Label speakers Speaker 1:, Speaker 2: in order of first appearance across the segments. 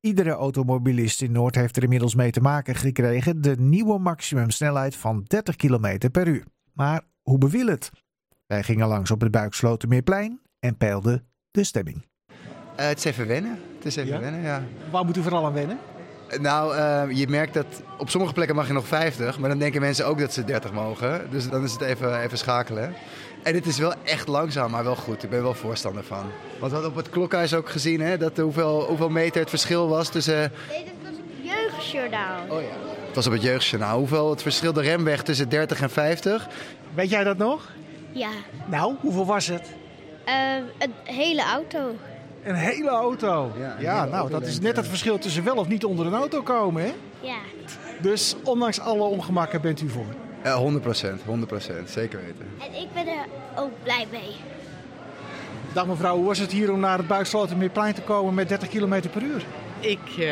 Speaker 1: Iedere automobilist in Noord heeft er inmiddels mee te maken gekregen de nieuwe maximumsnelheid van 30 km per uur. Maar hoe beviel het? Wij gingen langs op het Buikslotermeerplein en peilden de stemming.
Speaker 2: Eh, het is even wennen. Het is even
Speaker 3: Ja?
Speaker 2: wennen, ja.
Speaker 3: Waar moet u vooral aan wennen?
Speaker 2: Eh, Nou, eh, je merkt dat op sommige plekken mag je nog 50, maar dan denken mensen ook dat ze 30 mogen. Dus dan is het even, even schakelen. En het is wel echt langzaam, maar wel goed. Ik ben wel voorstander van. Want we hadden op het klokhuis ook gezien hè, dat hoeveel, hoeveel meter het verschil was tussen...
Speaker 4: Nee, dit was een jeugdjournaal.
Speaker 2: Oh ja. Het was op het jeugdjournaal. Hoeveel het verschil de remweg tussen 30 en 50.
Speaker 3: Weet jij dat nog?
Speaker 4: Ja,
Speaker 3: Nou, hoeveel was het?
Speaker 4: ehm, een hele auto.
Speaker 3: Een hele auto.
Speaker 2: Ja,
Speaker 3: Ja,
Speaker 2: een hele
Speaker 3: nou, dat
Speaker 2: autolengte.
Speaker 3: is net het verschil tussen wel of niet onder een auto komen, hè?
Speaker 4: Ja.
Speaker 3: Dus ondanks alle ongemakken bent u voor.
Speaker 2: Eh 100 100 zeker weten.
Speaker 4: En ik ben er ook blij mee.
Speaker 3: Dag mevrouw, hoe was het hier om naar het Buikslotermeerplein te komen met 30 km per uur?
Speaker 5: Ik eh,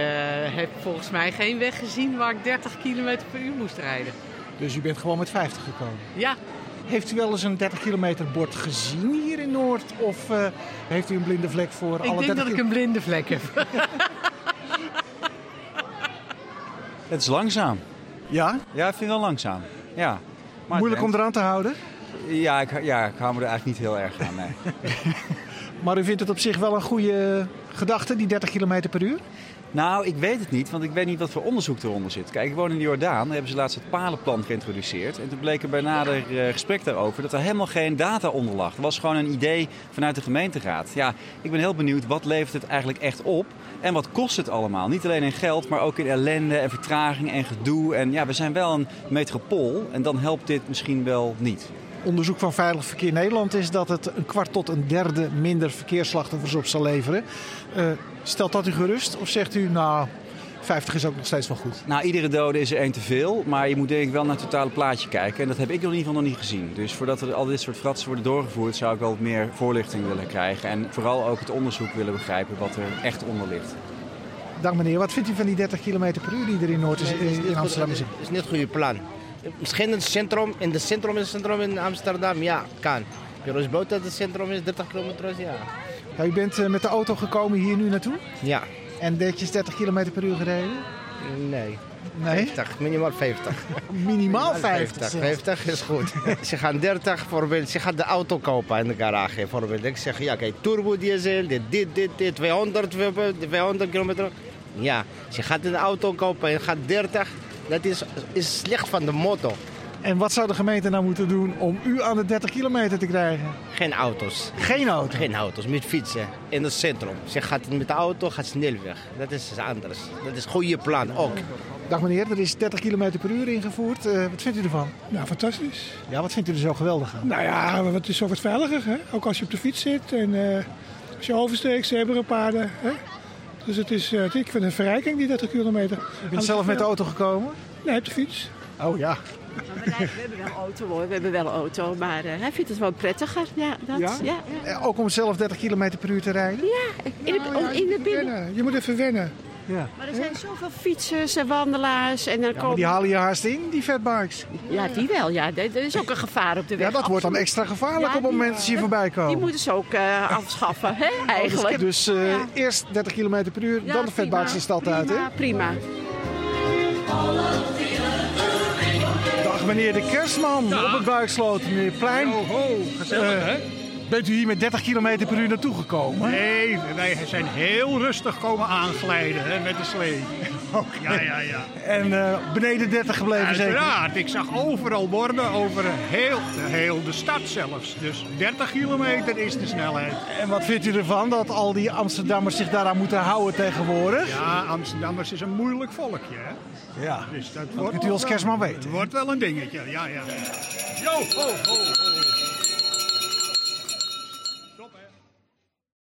Speaker 5: heb volgens mij geen weg gezien waar ik 30 km per uur moest rijden.
Speaker 3: Dus u bent gewoon met 50 gekomen.
Speaker 5: Ja,
Speaker 3: Heeft u wel eens een 30 kilometer bord gezien hier in Noord? Of eh, heeft u een blinde vlek voor
Speaker 5: ik
Speaker 3: alle
Speaker 5: denk
Speaker 3: 30
Speaker 5: dat ik een blinde vlek heb.
Speaker 6: Het is langzaam.
Speaker 3: kilo- Ja?
Speaker 6: Ja, ik vind het wel langzaam. Ja. Maar
Speaker 3: Moeilijk om
Speaker 6: het
Speaker 3: eraan te houden.
Speaker 6: brengt- Ja ik, ja, ik hou me er eigenlijk niet heel erg aan. Nee.
Speaker 3: Maar u vindt het op zich wel een goede gedachte, die 30 km per uur?
Speaker 6: nou, ik weet het niet, want ik weet niet wat voor onderzoek eronder zit. Kijk, ik woon in de Jordaan, daar hebben ze laatst het palenplan geïntroduceerd. En toen bleek er bij nader eh, gesprek daarover dat er helemaal geen data onder lag. Het was gewoon een idee vanuit de gemeenteraad. Ja, ik ben heel benieuwd, wat levert het eigenlijk echt op? En wat kost het allemaal? Niet alleen in geld, maar ook in ellende en vertraging en gedoe. En ja, we zijn wel een metropool en dan helpt dit misschien wel niet.
Speaker 3: Onderzoek van Veilig Verkeer Nederland is dat het een kwart tot een derde minder verkeersslachtoffers op zal leveren. Eh, stelt dat u gerust of zegt u, nou, 50 is ook nog steeds wel goed?
Speaker 6: Nou, iedere dode is er één te veel. Maar je moet denk ik wel naar het totale plaatje kijken. En dat heb ik nog in ieder geval nog niet gezien. Dus voordat er al dit soort fratsen worden doorgevoerd... zou ik wel wat meer voorlichting willen krijgen. En vooral ook het onderzoek willen begrijpen wat er echt onder ligt.
Speaker 3: Dag meneer, wat vindt u van die 30 km per uur die er in, Noord is,
Speaker 7: Nee, het
Speaker 3: in
Speaker 7: niet
Speaker 3: Amsterdam is?
Speaker 7: goed, het is niet het goede plan. Misschien het centrum, in het centrum is het centrum in Amsterdam, ja, kan. Maar als buiten het centrum is 30 kilometer, ja.
Speaker 3: Ja, u bent eh, met de auto gekomen hier nu naartoe
Speaker 7: Ja,
Speaker 3: en netjes 30 km per uur gereden?
Speaker 7: nee.
Speaker 3: Nee,
Speaker 7: 50, minimaal 50.
Speaker 3: minimaal 50.
Speaker 7: 50,
Speaker 3: zelfs.
Speaker 7: 50 is goed. ze gaan 30, bijvoorbeeld, ze gaan de auto kopen in de garage. Bijvoorbeeld. Ik zeg, ja, kijk, turbo diesel, dit, dit, dit, dit, 200, 200 kilometer. Ja, ze gaat een auto kopen en gaat 30. Dat is, is slecht van de motor.
Speaker 3: En wat zou de gemeente nou moeten doen om u aan de 30 kilometer te krijgen?
Speaker 7: Geen auto's.
Speaker 3: Geen auto.
Speaker 7: Geen auto's, met fietsen in het centrum. Ze gaat met de auto, gaat snel weg. Dat is anders. Dat is een goede plan ook.
Speaker 3: Dag meneer, er is 30 km per uur ingevoerd. Eh, wat vindt u ervan?
Speaker 8: Nou, fantastisch.
Speaker 3: Ja, wat vindt u er zo geweldig aan?
Speaker 8: Nou ja, maar het is zo wat veiliger, hè? Ook als je op de fiets zit en eh, als je oversteekt, zebrapaden, hè? Dus het is, eh, ik vind het een verrijking, die 30 kilometer.
Speaker 3: U bent zelf met de auto gekomen?
Speaker 8: Nee, op de fiets.
Speaker 3: Oh ja.
Speaker 9: We hebben wel auto hoor, we hebben wel auto, maar eh, hij vindt het wel prettiger. Ja, dat,
Speaker 3: Ja?
Speaker 9: ja? Ja,
Speaker 3: Eh, Ook om zelf 30 km per uur te rijden?
Speaker 9: In, de, om- in de binnen.
Speaker 8: Wennen. Nou Je moet even wennen.
Speaker 9: Maar er zijn zoveel fietsers en wandelaars en dan
Speaker 3: Ja, maar
Speaker 9: komen...
Speaker 3: die halen je haast in, die fatbikes.
Speaker 9: Ja, die wel. Ja, er er is ook een gevaar op de weg.
Speaker 3: Ja, dat wordt dan
Speaker 9: absoluut.
Speaker 3: extra gevaarlijk
Speaker 9: Ja,
Speaker 3: op het
Speaker 9: die-
Speaker 3: moment dat ze hier voorbij komen.
Speaker 9: Die moeten ze ook eh, afschaffen, hè, eigenlijk.
Speaker 3: Dus eh,
Speaker 9: Ja.
Speaker 3: eerst 30 km per uur,
Speaker 9: Ja,
Speaker 3: dan de fatbikes
Speaker 9: prima.
Speaker 3: de stad uit. Hè?
Speaker 9: Prima, prima.
Speaker 3: Dag meneer de kerstman op het Buiksloot, meneer Plein. Eh, Bent u hier met 30 km per uur naartoe gekomen?
Speaker 10: Nee, wij zijn heel rustig komen aanglijden hè, met de slee. Ja, ja, ja.
Speaker 3: En eh, beneden 30 gebleven zeker?
Speaker 10: Uiteraard, ik zag overal borden over heel, heel de stad zelfs. Dus 30 kilometer is de snelheid.
Speaker 3: En wat vindt u ervan dat al die Amsterdammers zich daaraan moeten houden tegenwoordig?
Speaker 10: Ja, Amsterdammers is een moeilijk volkje. Hè?
Speaker 3: Ja.
Speaker 10: Dus dat
Speaker 3: kunt u
Speaker 10: wel-
Speaker 3: als kerstman weten.
Speaker 10: Het wordt wel een dingetje, ja, ja. Yo, ho, ho, ho.